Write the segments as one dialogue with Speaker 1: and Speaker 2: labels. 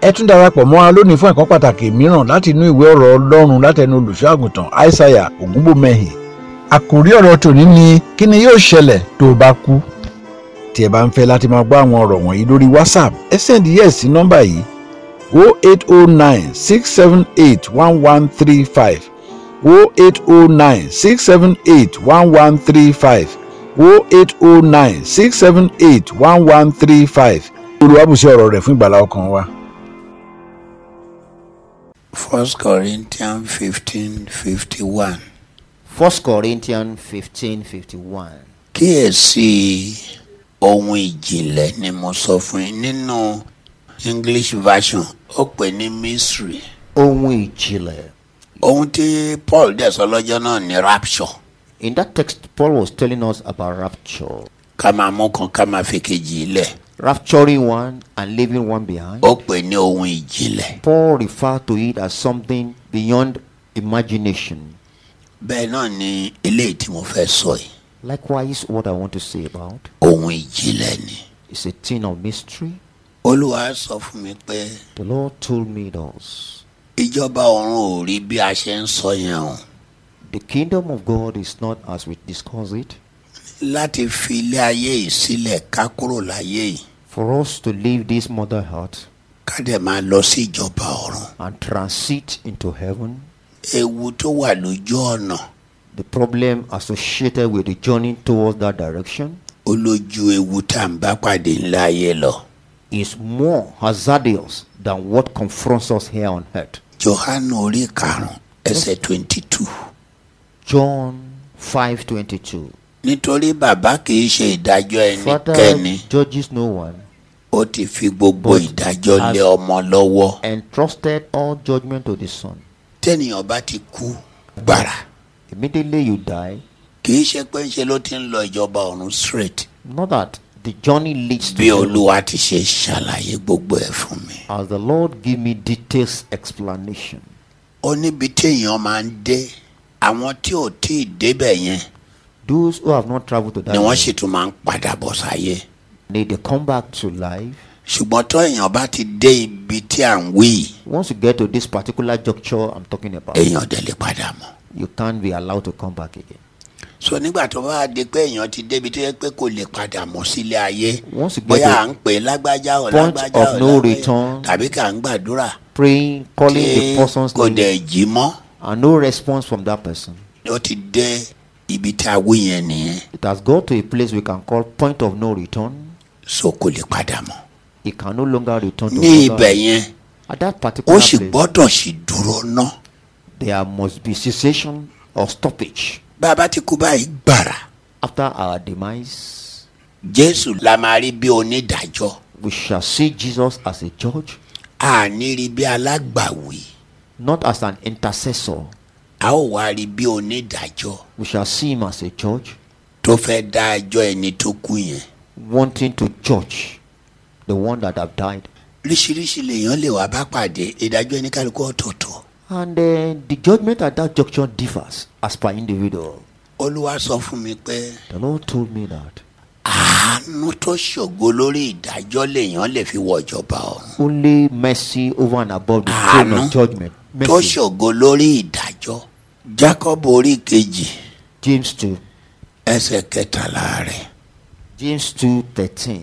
Speaker 1: ẹ tún darapọ̀ mọ́ wa lónìí fún ẹ̀kọ́ pàtàkì mìíràn láti inú ìwé ọ̀rọ̀ ọlọ́run látẹnu olùṣọ́àgùntàn aishaiya ògúnbòmẹ́hìn àkòrí ọ̀rọ̀ tòní ni kí ni yóò ṣẹlẹ̀ tó o bá kú tí ẹ bá ń fẹ́ láti máa gbọ́ àwọn ọ̀rọ̀ wọ̀nyí lórí whatsapp ẹ sẹ́ndí yẹ̀ sí nọ́mbà yìí 0809 678 1135 0809 678 1135 0809 678 1135 olùwàbùsẹ̀ ọ̀rọ̀ rẹ̀ fún ìgbàlá ọkàn wa.
Speaker 2: First Corinthians fifteen fifty one.
Speaker 3: 1 Corinthians 15 51.
Speaker 2: Kíyèsí ohun ìjìnlẹ̀ ni mo sọ fún yín nínú English version ó pè ní mystery.
Speaker 3: Ohun ìjìnlẹ̀.
Speaker 2: Ohun tí Paul dẹ̀ sọ lọ́jọ́ náà ni rapture.
Speaker 3: In that text, Paul was telling us about rapture.
Speaker 2: Ká máa mú kan ká máa fi kejì lẹ̀.
Speaker 3: Rapturing one and leaving one behind.
Speaker 2: Ó pè ní ohun ìjìnlẹ̀.
Speaker 3: Paul referred to it as something beyond imagination.
Speaker 2: Bẹ́ẹ̀ náà ni eléyìí tí mo fẹ́ sọ yìí.
Speaker 3: Likewise, what I want to say about
Speaker 2: Ohun ìjìnlẹ̀ ni.
Speaker 3: is a thing of mystery.
Speaker 2: Olúwa sọ fún mi pé
Speaker 3: The Lord told me thus
Speaker 2: ìjọba ọ̀run ò rí bí a ṣe ń sọ yẹn o.
Speaker 3: The kingdom of God is not as we discuss it.
Speaker 2: Láti fi ilé ayé yìí sílẹ̀ ká kúrò láyé yìí.
Speaker 3: For us to leave this mother earth
Speaker 2: Ká dẹ̀ máa lọ sí ìjọba ọ̀run.
Speaker 3: and transit into heaven,
Speaker 2: Ewu tó wà lójú ọ̀nà
Speaker 3: the problem associated with the journey towards that direction
Speaker 2: ó lójú ewu tá à ń bá pàdé ńlá ayé lọ.
Speaker 3: is more hazardous than what confronts us here on earth.
Speaker 2: Jòhánù orí karùn-ún ẹsẹ̀ twenty two.
Speaker 3: John 5:22.
Speaker 2: Nítorí bàbá kì í ṣe ìdájọ́ ẹnikẹ́ni,
Speaker 3: Father judges no one,
Speaker 2: ó ti fi gbogbo
Speaker 3: But
Speaker 2: ìdájọ́
Speaker 3: as-
Speaker 2: lé ọmọ lọ́wọ́.
Speaker 3: entrusted all judgment to the Son.
Speaker 2: Tẹ́nìyàn bá ti kú gbàrà.
Speaker 3: Immediately you die,
Speaker 2: Kì í ṣe pé ńṣe ló ti ń lọ ìjọba ọ̀run straight.
Speaker 3: not that the journey leads to
Speaker 2: Bí
Speaker 3: you.
Speaker 2: Olúwa ti ṣe ṣàlàyé gbogbo ẹ̀ fún mi.
Speaker 3: As the Lord give me details explanation.
Speaker 2: Ó níbi téèyàn máa ń dé. Àwọn tí ò tí ì débẹ̀ yẹn
Speaker 3: Those who have not traveled to that
Speaker 2: ni wọ́n
Speaker 3: place,
Speaker 2: sì tún máa ń padà bọ̀ sáyé.
Speaker 3: they, they come back to life.
Speaker 2: ṣùgbọ́n tó èèyàn bá ti dé ibi tí à ń wí yìí,
Speaker 3: Once you get to this particular juncture I'm talking about,
Speaker 2: èèyàn dẹ̀ lè padà mọ́.
Speaker 3: you can't be allowed to come back again.
Speaker 2: so nígbà tó bá di pé èèyàn ti débi tó yẹ pé kò lè padà mọ́ sílé ayé
Speaker 3: Wọ́n sì
Speaker 2: bóyá
Speaker 3: gbọ́dọ̀-
Speaker 2: à ń pè é lágbájá ò
Speaker 3: Point
Speaker 2: lágbájá
Speaker 3: of
Speaker 2: ò
Speaker 3: no
Speaker 2: lágbájá
Speaker 3: return.
Speaker 2: tàbí kà ń gbàdúrà
Speaker 3: Praying, calling
Speaker 2: tí
Speaker 3: the person's
Speaker 2: kò dẹ̀
Speaker 3: name,
Speaker 2: jí mọ́
Speaker 3: and no response from that person.
Speaker 2: ó ti dé ibi tá a wí yẹn nìyẹn
Speaker 3: It has got to a place we can call point of no return.
Speaker 2: so kò lè padà mọ́.
Speaker 3: It can no longer return to
Speaker 2: ní ibẹ̀
Speaker 3: God.
Speaker 2: yẹn
Speaker 3: At that
Speaker 2: ó
Speaker 3: particular
Speaker 2: sì
Speaker 3: place,
Speaker 2: gbọ́dọ̀ sì dúró ná
Speaker 3: there must be cessation or stoppage
Speaker 2: bá a bá ti kú báyìí gbàrà
Speaker 3: after our demise.
Speaker 2: jésù la máa rí bí onídàájọ́
Speaker 3: We shall see Jesus as a judge,
Speaker 2: àní rí bí alágbàwí.
Speaker 3: not as an intercessor.
Speaker 2: a ó wá rí bí onídàájọ́
Speaker 3: We shall see him as a judge,
Speaker 2: tó fẹ́ dá ẹjọ́ ẹni tó kú yẹn
Speaker 3: wanting to judge the one that have died.
Speaker 2: oríṣiríṣi lèèyàn lè wá bá pàdé ìdájọ́ ẹni kálukú ọ̀tọ̀ọ̀tọ̀
Speaker 3: And uh, the judgment at that juncture differs as per individual.
Speaker 2: olúwa sọ fún mi pé
Speaker 3: The Lord told me that
Speaker 2: àánú tó ṣògo lórí ìdájọ́ lèèyàn lè fi wọ ìjọba ọ̀run
Speaker 3: only mercy over and above the throne
Speaker 2: Àánú.
Speaker 3: of judgment.
Speaker 2: tó
Speaker 3: Mercy.
Speaker 2: ṣògo lórí ìdájọ́ jacob orí kejì
Speaker 3: James 2.
Speaker 2: ẹsẹ̀ kẹtàlá rẹ̀
Speaker 3: James 2:13.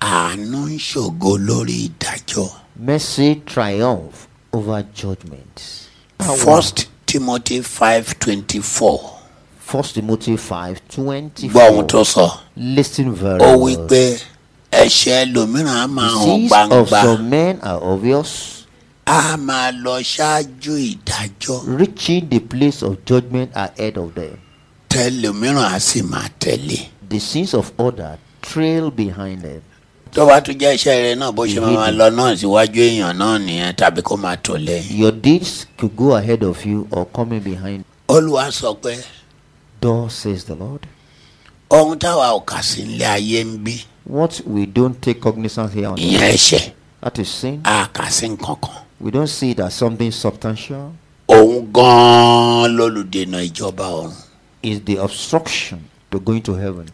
Speaker 2: àánú ń ṣògo lórí ìdájọ́
Speaker 3: Mercy triumph over judgment.
Speaker 2: first timothy five twenty four
Speaker 3: First Timothy 5:24.
Speaker 2: gbọ́ ohun tó sọ.
Speaker 3: Listen very
Speaker 2: ó
Speaker 3: well.
Speaker 2: wí pé ẹ̀ṣẹ̀ ẹlòmíràn á máa hàn
Speaker 3: Disease of
Speaker 2: gbangba
Speaker 3: some men are obvious,
Speaker 2: á máa lọ ṣáájú ìdájọ́
Speaker 3: reaching the place of judgment ahead of them.
Speaker 2: tẹlòmíràn á sì máa tẹ̀lé.
Speaker 3: The sins of others trail behind them.
Speaker 2: tó bá tún jẹ́ iṣẹ́ rẹ náà bó ṣe
Speaker 3: Ìyíde.
Speaker 2: máa lọ náà síwájú èèyàn náà nìyẹn tàbí kó máa tò lẹ́yìn.
Speaker 3: Your deeds could go ahead of you or coming behind.
Speaker 2: olúwa sọ pé
Speaker 3: Thus says the Lord.
Speaker 2: ohun táwa ò kà sí ilé ayé ń bí
Speaker 3: What we don't take cognizance here on
Speaker 2: ìyẹn
Speaker 3: earth,
Speaker 2: ẹ̀ṣẹ̀
Speaker 3: that is sin.
Speaker 2: á kà sí nǹkan kan.
Speaker 3: We don't see it as something substantial.
Speaker 2: òun gan-an lólùdènà ìjọba ọ̀run
Speaker 3: is the obstruction to going to heaven.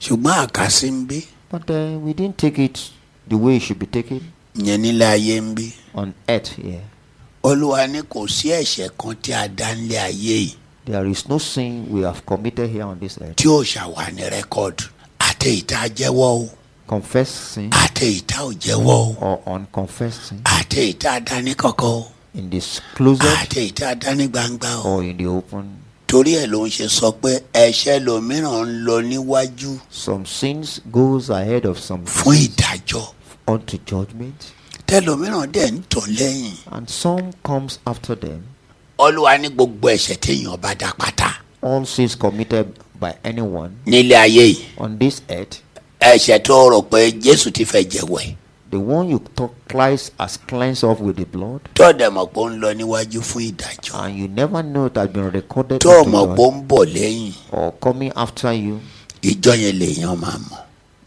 Speaker 2: ṣùgbọ́n àkàsí ń bí
Speaker 3: But uh, we didn't take it the way it should be taken.
Speaker 2: yẹn nílé ayé ń bí
Speaker 3: on earth here.
Speaker 2: olúwa ní kò sí ẹ̀ṣẹ̀ kan tí a dá nílé ayé yìí
Speaker 3: There is no sin we have committed here on this earth.
Speaker 2: tí ò ṣàwà ní rẹ́kọ́dù àti ìta jẹ́wọ́ o
Speaker 3: Confessed sin
Speaker 2: àti ìta ò jẹ́wọ́ o
Speaker 3: or unconfessed sin
Speaker 2: àti ìta dání kọ̀kọ́ o
Speaker 3: in this closet
Speaker 2: àti ìta dání gbangba o
Speaker 3: or in the open.
Speaker 2: torí ẹ̀ ló ń ṣe sọ pé ẹ̀ṣẹ̀ lòmíràn ń lọ níwájú
Speaker 3: Some sins goes ahead of some
Speaker 2: fún
Speaker 3: sins
Speaker 2: ìdájọ́
Speaker 3: unto judgment,
Speaker 2: tẹlòmíràn dẹ̀ ń tọ̀ lẹ́yìn
Speaker 3: and some comes after them.
Speaker 2: olúwa ní gbogbo ẹ̀ṣẹ̀ téèyàn bá dá pátá
Speaker 3: All sins committed by anyone
Speaker 2: nílé ayé yìí
Speaker 3: on this earth,
Speaker 2: ẹ̀ṣẹ̀ tó rò pé jésù ti fẹ́ jẹ̀wọ́ ẹ̀
Speaker 3: the one you talk Christ as cleansed of with the blood,
Speaker 2: tó dẹ̀ mọ̀ pé ó ń lọ níwájú fún ìdájọ́
Speaker 3: and you never know it has been recorded
Speaker 2: tó
Speaker 3: unto
Speaker 2: mọ̀
Speaker 3: God
Speaker 2: pé ó ń bọ̀ lẹ́yìn
Speaker 3: or coming after you.
Speaker 2: ìjọ yẹn lèèyàn máa mọ̀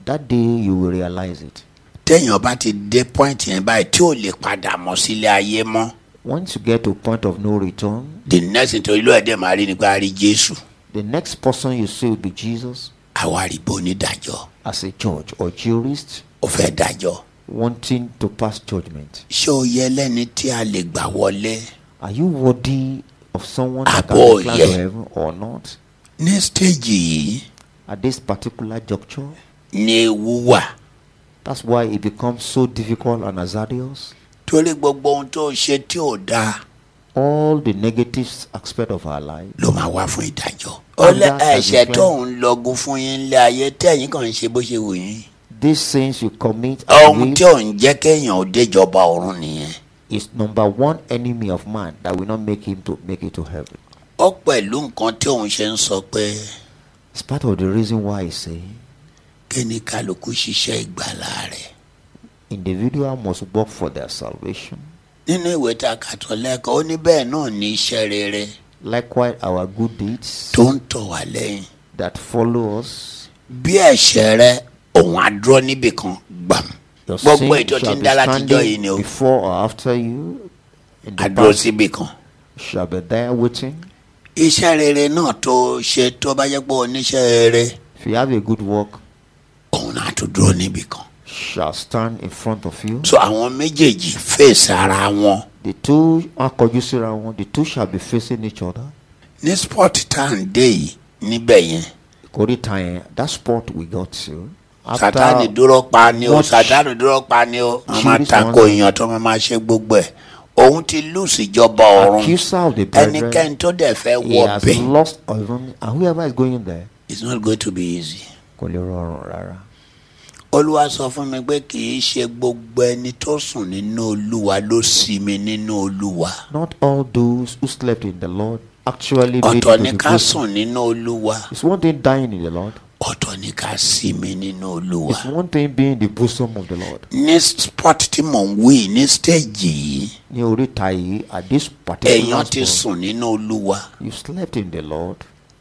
Speaker 3: That day you will realize it.
Speaker 2: téèyàn bá ti dé point yẹn báyìí tí ò lè padà mọ̀ sílé ayé mọ́
Speaker 3: Once you get to a point of no return,
Speaker 2: the next thing tó ilé ẹ̀ dẹ̀ máa rí ni pé a rí jésù
Speaker 3: the next person you see will be Jesus
Speaker 2: àwa rí bó onídàájọ́
Speaker 3: as a judge or jurist
Speaker 2: ó fẹ́ dájọ́
Speaker 3: wanting to pass judgment.
Speaker 2: ṣé o yẹ lẹ́ni tí a lè gbà wọlé
Speaker 3: Are you worthy of someone that
Speaker 2: Abo,
Speaker 3: can be classed
Speaker 2: yeah.
Speaker 3: to heaven or not?
Speaker 2: ní stage yìí
Speaker 3: At this particular juncture,
Speaker 2: ni ewu wà
Speaker 3: that's why it becomes so difficult and hazardous.
Speaker 2: torí gbogbo ohun tó ṣe tí ò dáa
Speaker 3: All the negative aspect of our life,
Speaker 2: ló máa wá fún ìdájọ́. ó
Speaker 3: Under
Speaker 2: lé ẹ̀ṣẹ̀
Speaker 3: satisfaction.
Speaker 2: tó ń lọgun fún yín lé ayé tẹ̀yìn kàn ń ṣe bó ṣe wù yín.
Speaker 3: these sins you commit and
Speaker 2: ohun
Speaker 3: live
Speaker 2: tí ò ń jẹ́ kéèyàn ó déjọba ọ̀run nìyẹn.
Speaker 3: is number one enemy of man that will not make him to make it to heaven.
Speaker 2: ó pẹ̀lú nǹkan tí òun ṣe ń sọ pé
Speaker 3: It's part of the reason why I say
Speaker 2: kí ni kálukú ṣiṣẹ́ ìgbàlá rẹ̀.
Speaker 3: individual must work for their salvation.
Speaker 2: nínú ìwé ta kàtọ́ lẹ́kọ̀ọ́ ó ní bẹ́ẹ̀ náà ní iṣẹ́ rere
Speaker 3: Likewise, our good deeds
Speaker 2: tó ń tọ̀ wá lẹ́yìn.
Speaker 3: that follow us,
Speaker 2: bí ẹ̀ṣẹ̀ rẹ òun á dúró níbì kan gbàm.
Speaker 3: your
Speaker 2: Gbogbo
Speaker 3: sins
Speaker 2: ìjọ tí
Speaker 3: shall
Speaker 2: ń
Speaker 3: be
Speaker 2: dá látijọ́ yìí
Speaker 3: standing
Speaker 2: ni o.
Speaker 3: before or after you. In
Speaker 2: á
Speaker 3: the
Speaker 2: dúró
Speaker 3: past
Speaker 2: síbì kan.
Speaker 3: shall be there waiting.
Speaker 2: iṣẹ́ rere náà tó ṣe tó bá jẹ́ pé oníṣẹ́ rere
Speaker 3: If you have a good work,
Speaker 2: òun á tún dúró níbì kan.
Speaker 3: shall stand in front of you.
Speaker 2: so àwọn méjèèjì fèsì ara wọn
Speaker 3: The two are conducive around. The two shall be facing each other.
Speaker 2: ní sport tá à ń dé yìí níbẹ̀ yẹn
Speaker 3: According time, eh, that spot we got to.
Speaker 2: sátani dúró pa ni o
Speaker 3: much
Speaker 2: sátani dúró pa ni o wọn máa
Speaker 3: series
Speaker 2: tako
Speaker 3: one.
Speaker 2: èèyàn tó máa máa ṣe gbogbo ẹ̀ òun ti lùsì ìjọba ọ̀run
Speaker 3: accuser of the brethren,
Speaker 2: ẹnikẹ́ni tó dẹ̀ fẹ́
Speaker 3: he
Speaker 2: wọ
Speaker 3: has
Speaker 2: bẹ̀
Speaker 3: lost even, and whoever is going there,
Speaker 2: it's not going to be easy.
Speaker 3: kò lè rọrùn rárá.
Speaker 2: olúwa sọ fún mi pé kì í ṣe gbogbo ẹni tó sùn nínú olúwa ló sinmi nínú olúwa
Speaker 3: Not all those who slept in the Lord actually made it
Speaker 2: ọ̀tọ̀
Speaker 3: to
Speaker 2: ni
Speaker 3: the
Speaker 2: ká
Speaker 3: good.
Speaker 2: sùn nínú olúwa
Speaker 3: It's one thing dying in the Lord.
Speaker 2: ọ̀tọ̀ ni ká sinmi nínú olúwa.
Speaker 3: It's one thing being in the bosom of the Lord.
Speaker 2: ní spot tí mò ń wí ní stage yìí
Speaker 3: Ní oríta yìí, at this particular
Speaker 2: èèyàn ti
Speaker 3: spot,
Speaker 2: sùn nínú olúwa
Speaker 3: you slept in the Lord.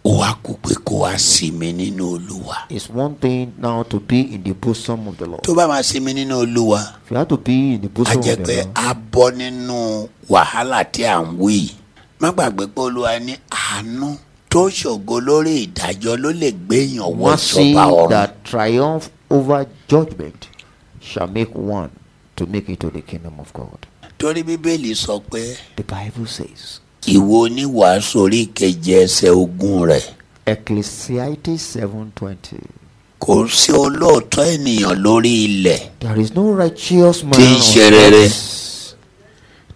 Speaker 2: ó wá kú pé kó wá sinmi nínú olúwa
Speaker 3: It's one thing now to be in the bosom of the Lord.
Speaker 2: tó bá máa sinmi nínú olúwa
Speaker 3: If you have to be in the
Speaker 2: á
Speaker 3: bosom of
Speaker 2: jẹ pé
Speaker 3: the Lord,
Speaker 2: a bọ nínú wàhálà tí à ń wí yìí. má gbàgbé pé olúwa ní àánú tó ṣògo lórí ìdájọ́ ló lè gbéyàn wọ
Speaker 3: mercy
Speaker 2: ìjọba ọ̀run
Speaker 3: that triumph over judgment shall make one to make it to the kingdom of God.
Speaker 2: torí bíbélì sọ pé
Speaker 3: The Bible says,
Speaker 2: ìwo oníwàásù orí ìkeje ẹsẹ̀ ogún rẹ̀
Speaker 3: Ecclesiastes seven twenty.
Speaker 2: kò sí olóòótọ́ ènìyàn lórí ilẹ̀
Speaker 3: There is no righteous man
Speaker 2: Tí ń
Speaker 3: on
Speaker 2: ṣe rere.
Speaker 3: earth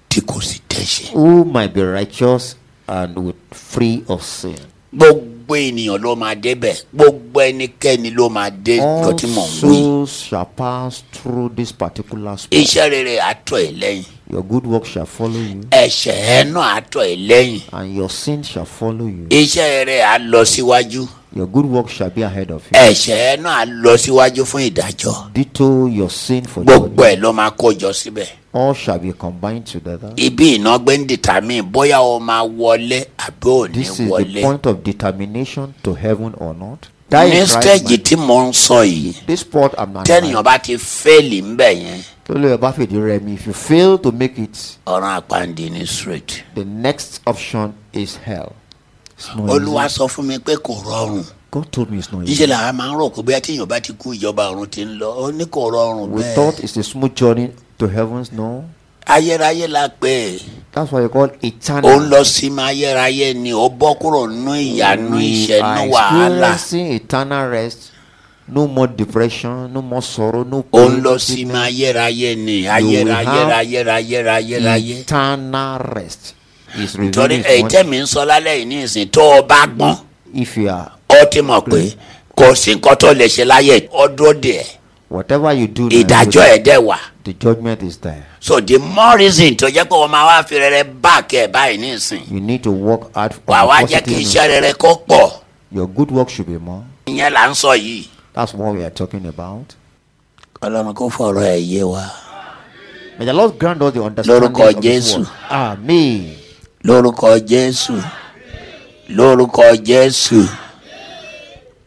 Speaker 2: tí kò sì tẹ̀sẹ̀.
Speaker 3: who might be righteous and with free of sin.
Speaker 2: gbogbo ènìyàn ló máa débẹ̀ gbogbo ẹnikẹ́ni ló máa dé lọ
Speaker 3: All
Speaker 2: tí mò ń wí.
Speaker 3: souls shall pass through this particular spot.
Speaker 2: iṣẹ́ rere àtọ̀ ẹ̀ lẹ́yìn
Speaker 3: Your good work shall follow you,
Speaker 2: ẹ̀ṣẹ̀ ẹ̀ náà àtọ̀ ẹ̀ lẹ́yìn
Speaker 3: and your sin shall follow you.
Speaker 2: iṣẹ́ rere à lọ síwájú
Speaker 3: Your good work shall be ahead of you.
Speaker 2: ẹ̀ṣẹ̀ ẹ̀ náà à lọ síwájú fún ìdájọ́
Speaker 3: Ditto your sin for
Speaker 2: gbogbo
Speaker 3: judgment.
Speaker 2: ẹ̀ ló máa kójọ síbẹ̀.
Speaker 3: All shall be combined together.
Speaker 2: ibi iná gbé ń dìtàmì bóyá o máa wọlé àbí ò ní
Speaker 3: This is the
Speaker 2: wọlé.
Speaker 3: point of determination to heaven or not. That
Speaker 2: ní
Speaker 3: is Christ
Speaker 2: stéèjì
Speaker 3: mind.
Speaker 2: tí mò ń sọ yìí
Speaker 3: This part I'm not.
Speaker 2: tẹ́nìyàn bá ti fẹ́ẹ̀lì ńbẹ̀ yẹn
Speaker 3: Tolu Obafemi Remi, if you fail to make it,
Speaker 2: ọ̀ràn àpáǹdì ní straight.
Speaker 3: the next option is hell. It's not
Speaker 2: olúwa
Speaker 3: easy.
Speaker 2: sọ fún mi pé kò rọrùn.
Speaker 3: God told me it's not
Speaker 2: níṣẹ́
Speaker 3: easy.
Speaker 2: làwa máa ń rò pé bóyá tíyàn bá ti kú ìjọba ọ̀run ti ń lọ ó ní kò rọrùn
Speaker 3: We
Speaker 2: bẹ́ẹ̀.
Speaker 3: thought it's a smooth journey to heavens? No.
Speaker 2: ayérayé la pè é
Speaker 3: That's why you call
Speaker 2: ó
Speaker 3: eternal.
Speaker 2: ń lọ sí ma ayérayé ni ó bọ́ kúrò nínú ìyanu
Speaker 3: We
Speaker 2: ìṣẹ́
Speaker 3: are
Speaker 2: nínú wàhálà
Speaker 3: experiencing eternal rest. No more depression, no more sorrow, no
Speaker 2: ó
Speaker 3: pain.
Speaker 2: ń lọ
Speaker 3: no
Speaker 2: sí ma
Speaker 3: sickness.
Speaker 2: ayérayé ni
Speaker 3: You have
Speaker 2: ayérayérayérayérayérayé
Speaker 3: Eternal rest is
Speaker 2: torí
Speaker 3: revealed.
Speaker 2: èyí tẹ̀mí ń sọ lálẹ́ yìí ní ìsìn tó o bá gbọ́n
Speaker 3: If you are
Speaker 2: ó ti mọ̀ pé kò sí nǹkan tó lè ṣe láyé ọdún díẹ̀
Speaker 3: whatever you do, now,
Speaker 2: ìdájọ́ ẹ̀ dẹ̀ wà
Speaker 3: the judgment is there.
Speaker 2: so the more reason tó jẹ́ pé wọ́n máa wá fi rere back ẹ̀ báyìí ní ìsìn
Speaker 3: You need to work hard for
Speaker 2: wà
Speaker 3: the
Speaker 2: wá jẹ́ kí
Speaker 3: positive
Speaker 2: iṣẹ́
Speaker 3: note.
Speaker 2: rere kó pọ̀
Speaker 3: Your good work should be more.
Speaker 2: ìyẹn là ń sọ yìí.
Speaker 3: That's what we are talking about.
Speaker 2: ọlọ́run kò fọ̀rọ̀ ẹ̀ yé wa
Speaker 3: May the Lord grant us the understanding
Speaker 2: Lórúkọ
Speaker 3: of His
Speaker 2: Jésù.
Speaker 3: word. Amen.
Speaker 2: lórúkọ jésù lórúkọ jésù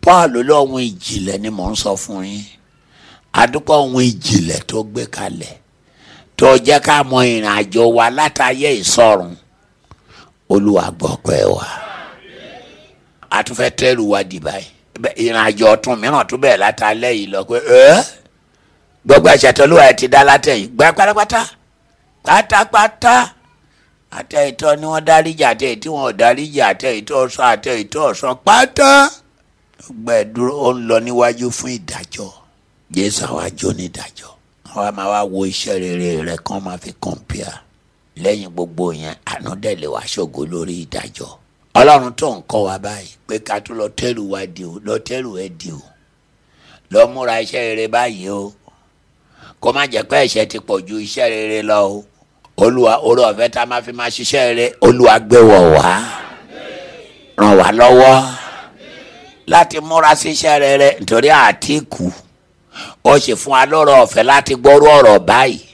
Speaker 2: paul lóhun ìjìnlẹ̀ ni mò ń sọ fún yín adúpọ̀ ohun ìjìnlẹ̀ tó gbé kalẹ̀ tó jẹ́ ká mọ ìrìn àjò wa látayé ìsọ̀rùn olúwa gbọ́pẹ́ wa a tún fẹ́ tẹ́rù wa dì báyìí Bẹ́- ìrìn àjò ọ̀tún mìíràn tún bẹ̀rẹ̀ látàlẹ́ yìí lọ pé ẹ́ gbogbo ẹ̀ṣẹ̀ tó lúwa ẹ̀ ti dá látẹ̀yìn gbá pátápátá pátápátá àtẹ ìtọ́ ni wọ́n dáríjà àtẹ ìtí wọn ò dáríjà àtẹ ìtọ́ ọ̀sán àtẹ ìtọ́ ọ̀sán pátá gbẹ dúró ó ń lọ níwájú fún ìdájọ́ jésù àwa jó ní ìdájọ́ àwa máa wá wo iṣẹ́ rere rẹ kán máa fi kọ̀ǹpìà lẹ́yìn gbogbo yẹn àná dẹ̀ lè wá ṣògo lórí ìdájọ́ ọlọ́run tó ń kọ́ wa báyìí pé ká tún lọ tẹ́rù wa dì o lọ tẹ́rù ẹ dì o lọ múra iṣẹ́ rere báyìí o kó má jẹ́ pé ẹ̀ṣẹ̀ ti pọ̀ ju iṣẹ́ rere lọ o olúwa orí ọ̀fẹ́ tá a máa fi máa ṣiṣẹ́ rere olúwa gbé wọ̀ wá ràn wá lọ́wọ́ láti múra síṣẹ́ rere nítorí àtìkù ó sì fún wa lọ́rọ̀ ọ̀fẹ́ láti gbọ́rú ọ̀rọ̀ báyìí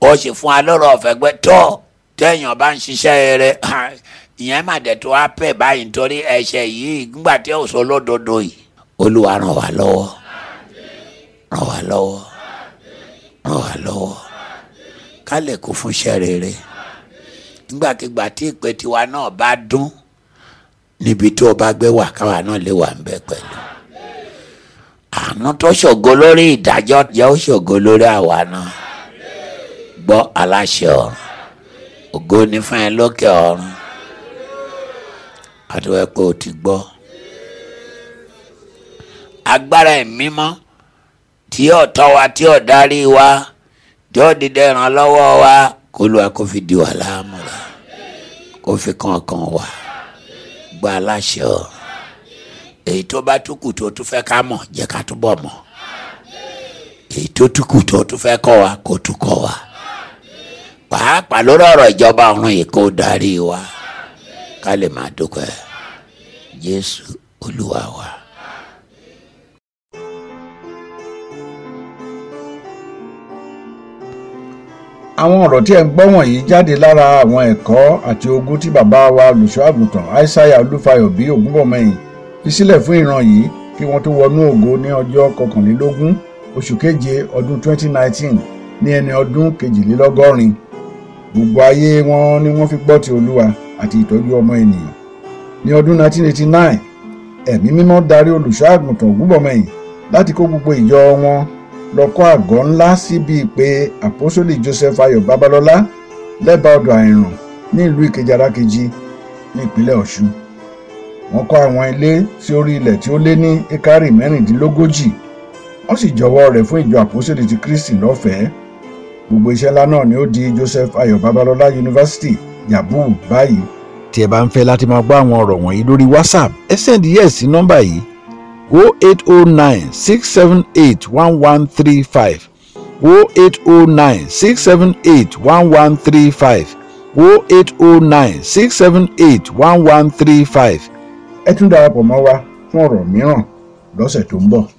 Speaker 2: ó sì fún wa lọ́rọ̀ ọ̀fẹ́ pé tọ́ téèyàn bá ń ṣiṣẹ́ rere ìyẹn má dẹ̀ tó wá pè báyìí nítorí ẹ̀ṣẹ̀ yìí nígbà tí ó sọ lódodo yìí olúwa ràn wá lọ́wọ́ ràn wá lọ́wọ́ ràn wá lọ́wọ́ ká lè kó fún iṣẹ́ rere nígbàkigbà tí ìpè tiwa náà bá dún níbi tó o bá gbé wà káwa náà lè wà ń bẹ pẹ̀lú àánú tó ṣògo lórí ìdájọ́ yẹ ó ṣògo lórí àwa náà gbọ́ aláṣẹ ọ̀run ògo ní fún ẹ lókè ọ̀run àdúrà pé o ti gbọ́ agbára ẹ̀ mímọ́ tí yóò tọ́ wa tí yóò darí wa jọ́ dídẹ ìrànlọ́wọ́ wa kó lu wa kó fi di wa láàmú rẹ kó fi kankan wa gba aláṣẹ ọ èyí tó bá tún kù tó tún fẹ́ ká mọ̀ jẹ́ ká túbọ̀ mọ̀ èyí tó tún kù tó tún fẹ́ kọ́ wa kó tún kọ́ wa pàápàá lórí ọ̀rọ̀ ìjọba ọ̀run yìí kó darí wa ká lè máa dúpẹ́ jésù olúwa wa.
Speaker 1: àwọn ọ̀rọ̀ tí ẹ̀ ń gbọ́ wọ̀nyí jáde lára àwọn ẹ̀kọ́ àti ogun tí bàbá wa olùṣọ́àgùntàn aishaiya olúfayọ bí ògúnbọ̀mọyìn fi sílẹ̀ fún ìran yìí kí wọ́n tó wọnú ògo ní ọjọ́ kọkànlélógún oṣù keje ọdún 2019 ní ẹni ọdún kejìlélọ́gọ́rin gbogbo ayé wọn ni wọ́n fi gbọ́ ti olúwa àti ìtọ́jú ọmọ ènìyàn ní ọdún 1989 ẹ̀mí mímọ́ darí olùṣọ́àgùntàn ògúnbọ̀mọyìn láti kó gbogbo ìjọ wọn lọ́kọ́ àgọ́ ńlá síbi ìpè àpọ́sólì joseph ayọ̀ babalọ́lá lẹ́bàá ọ̀dọ̀ àìràn ní ìlú ìkejì arákejì ní ìpínlẹ̀ ọ̀ṣun. wọ́n kọ́ àwọn ilé sí orí ilẹ̀ tí ó lé ní ekari mẹ́rìndínlógójì wọ́n sì jọwọ́ rẹ̀ fún ìjọ àpọ́sólì ti kristi lọ́fẹ̀ẹ́. gbogbo iṣẹ́ ńlá náà ni ó di joseph ayọ̀ babalọ́lá yunifásitì yabu báyìí. tí ẹ bá ń fẹ́ láti máa gbọ́ àwọn ọ̀rọ̀ wọ̀nyí lórí whatsapp ẹ sẹ́ndí yẹ̀ sí nọ́mbà yìí 0809 678 1135 0809 678 1135 0809 678 1135. ẹ tún darapọ̀ mọ́ wa fún ọ̀rọ̀ mìíràn lọ́sẹ̀ tó ń bọ̀.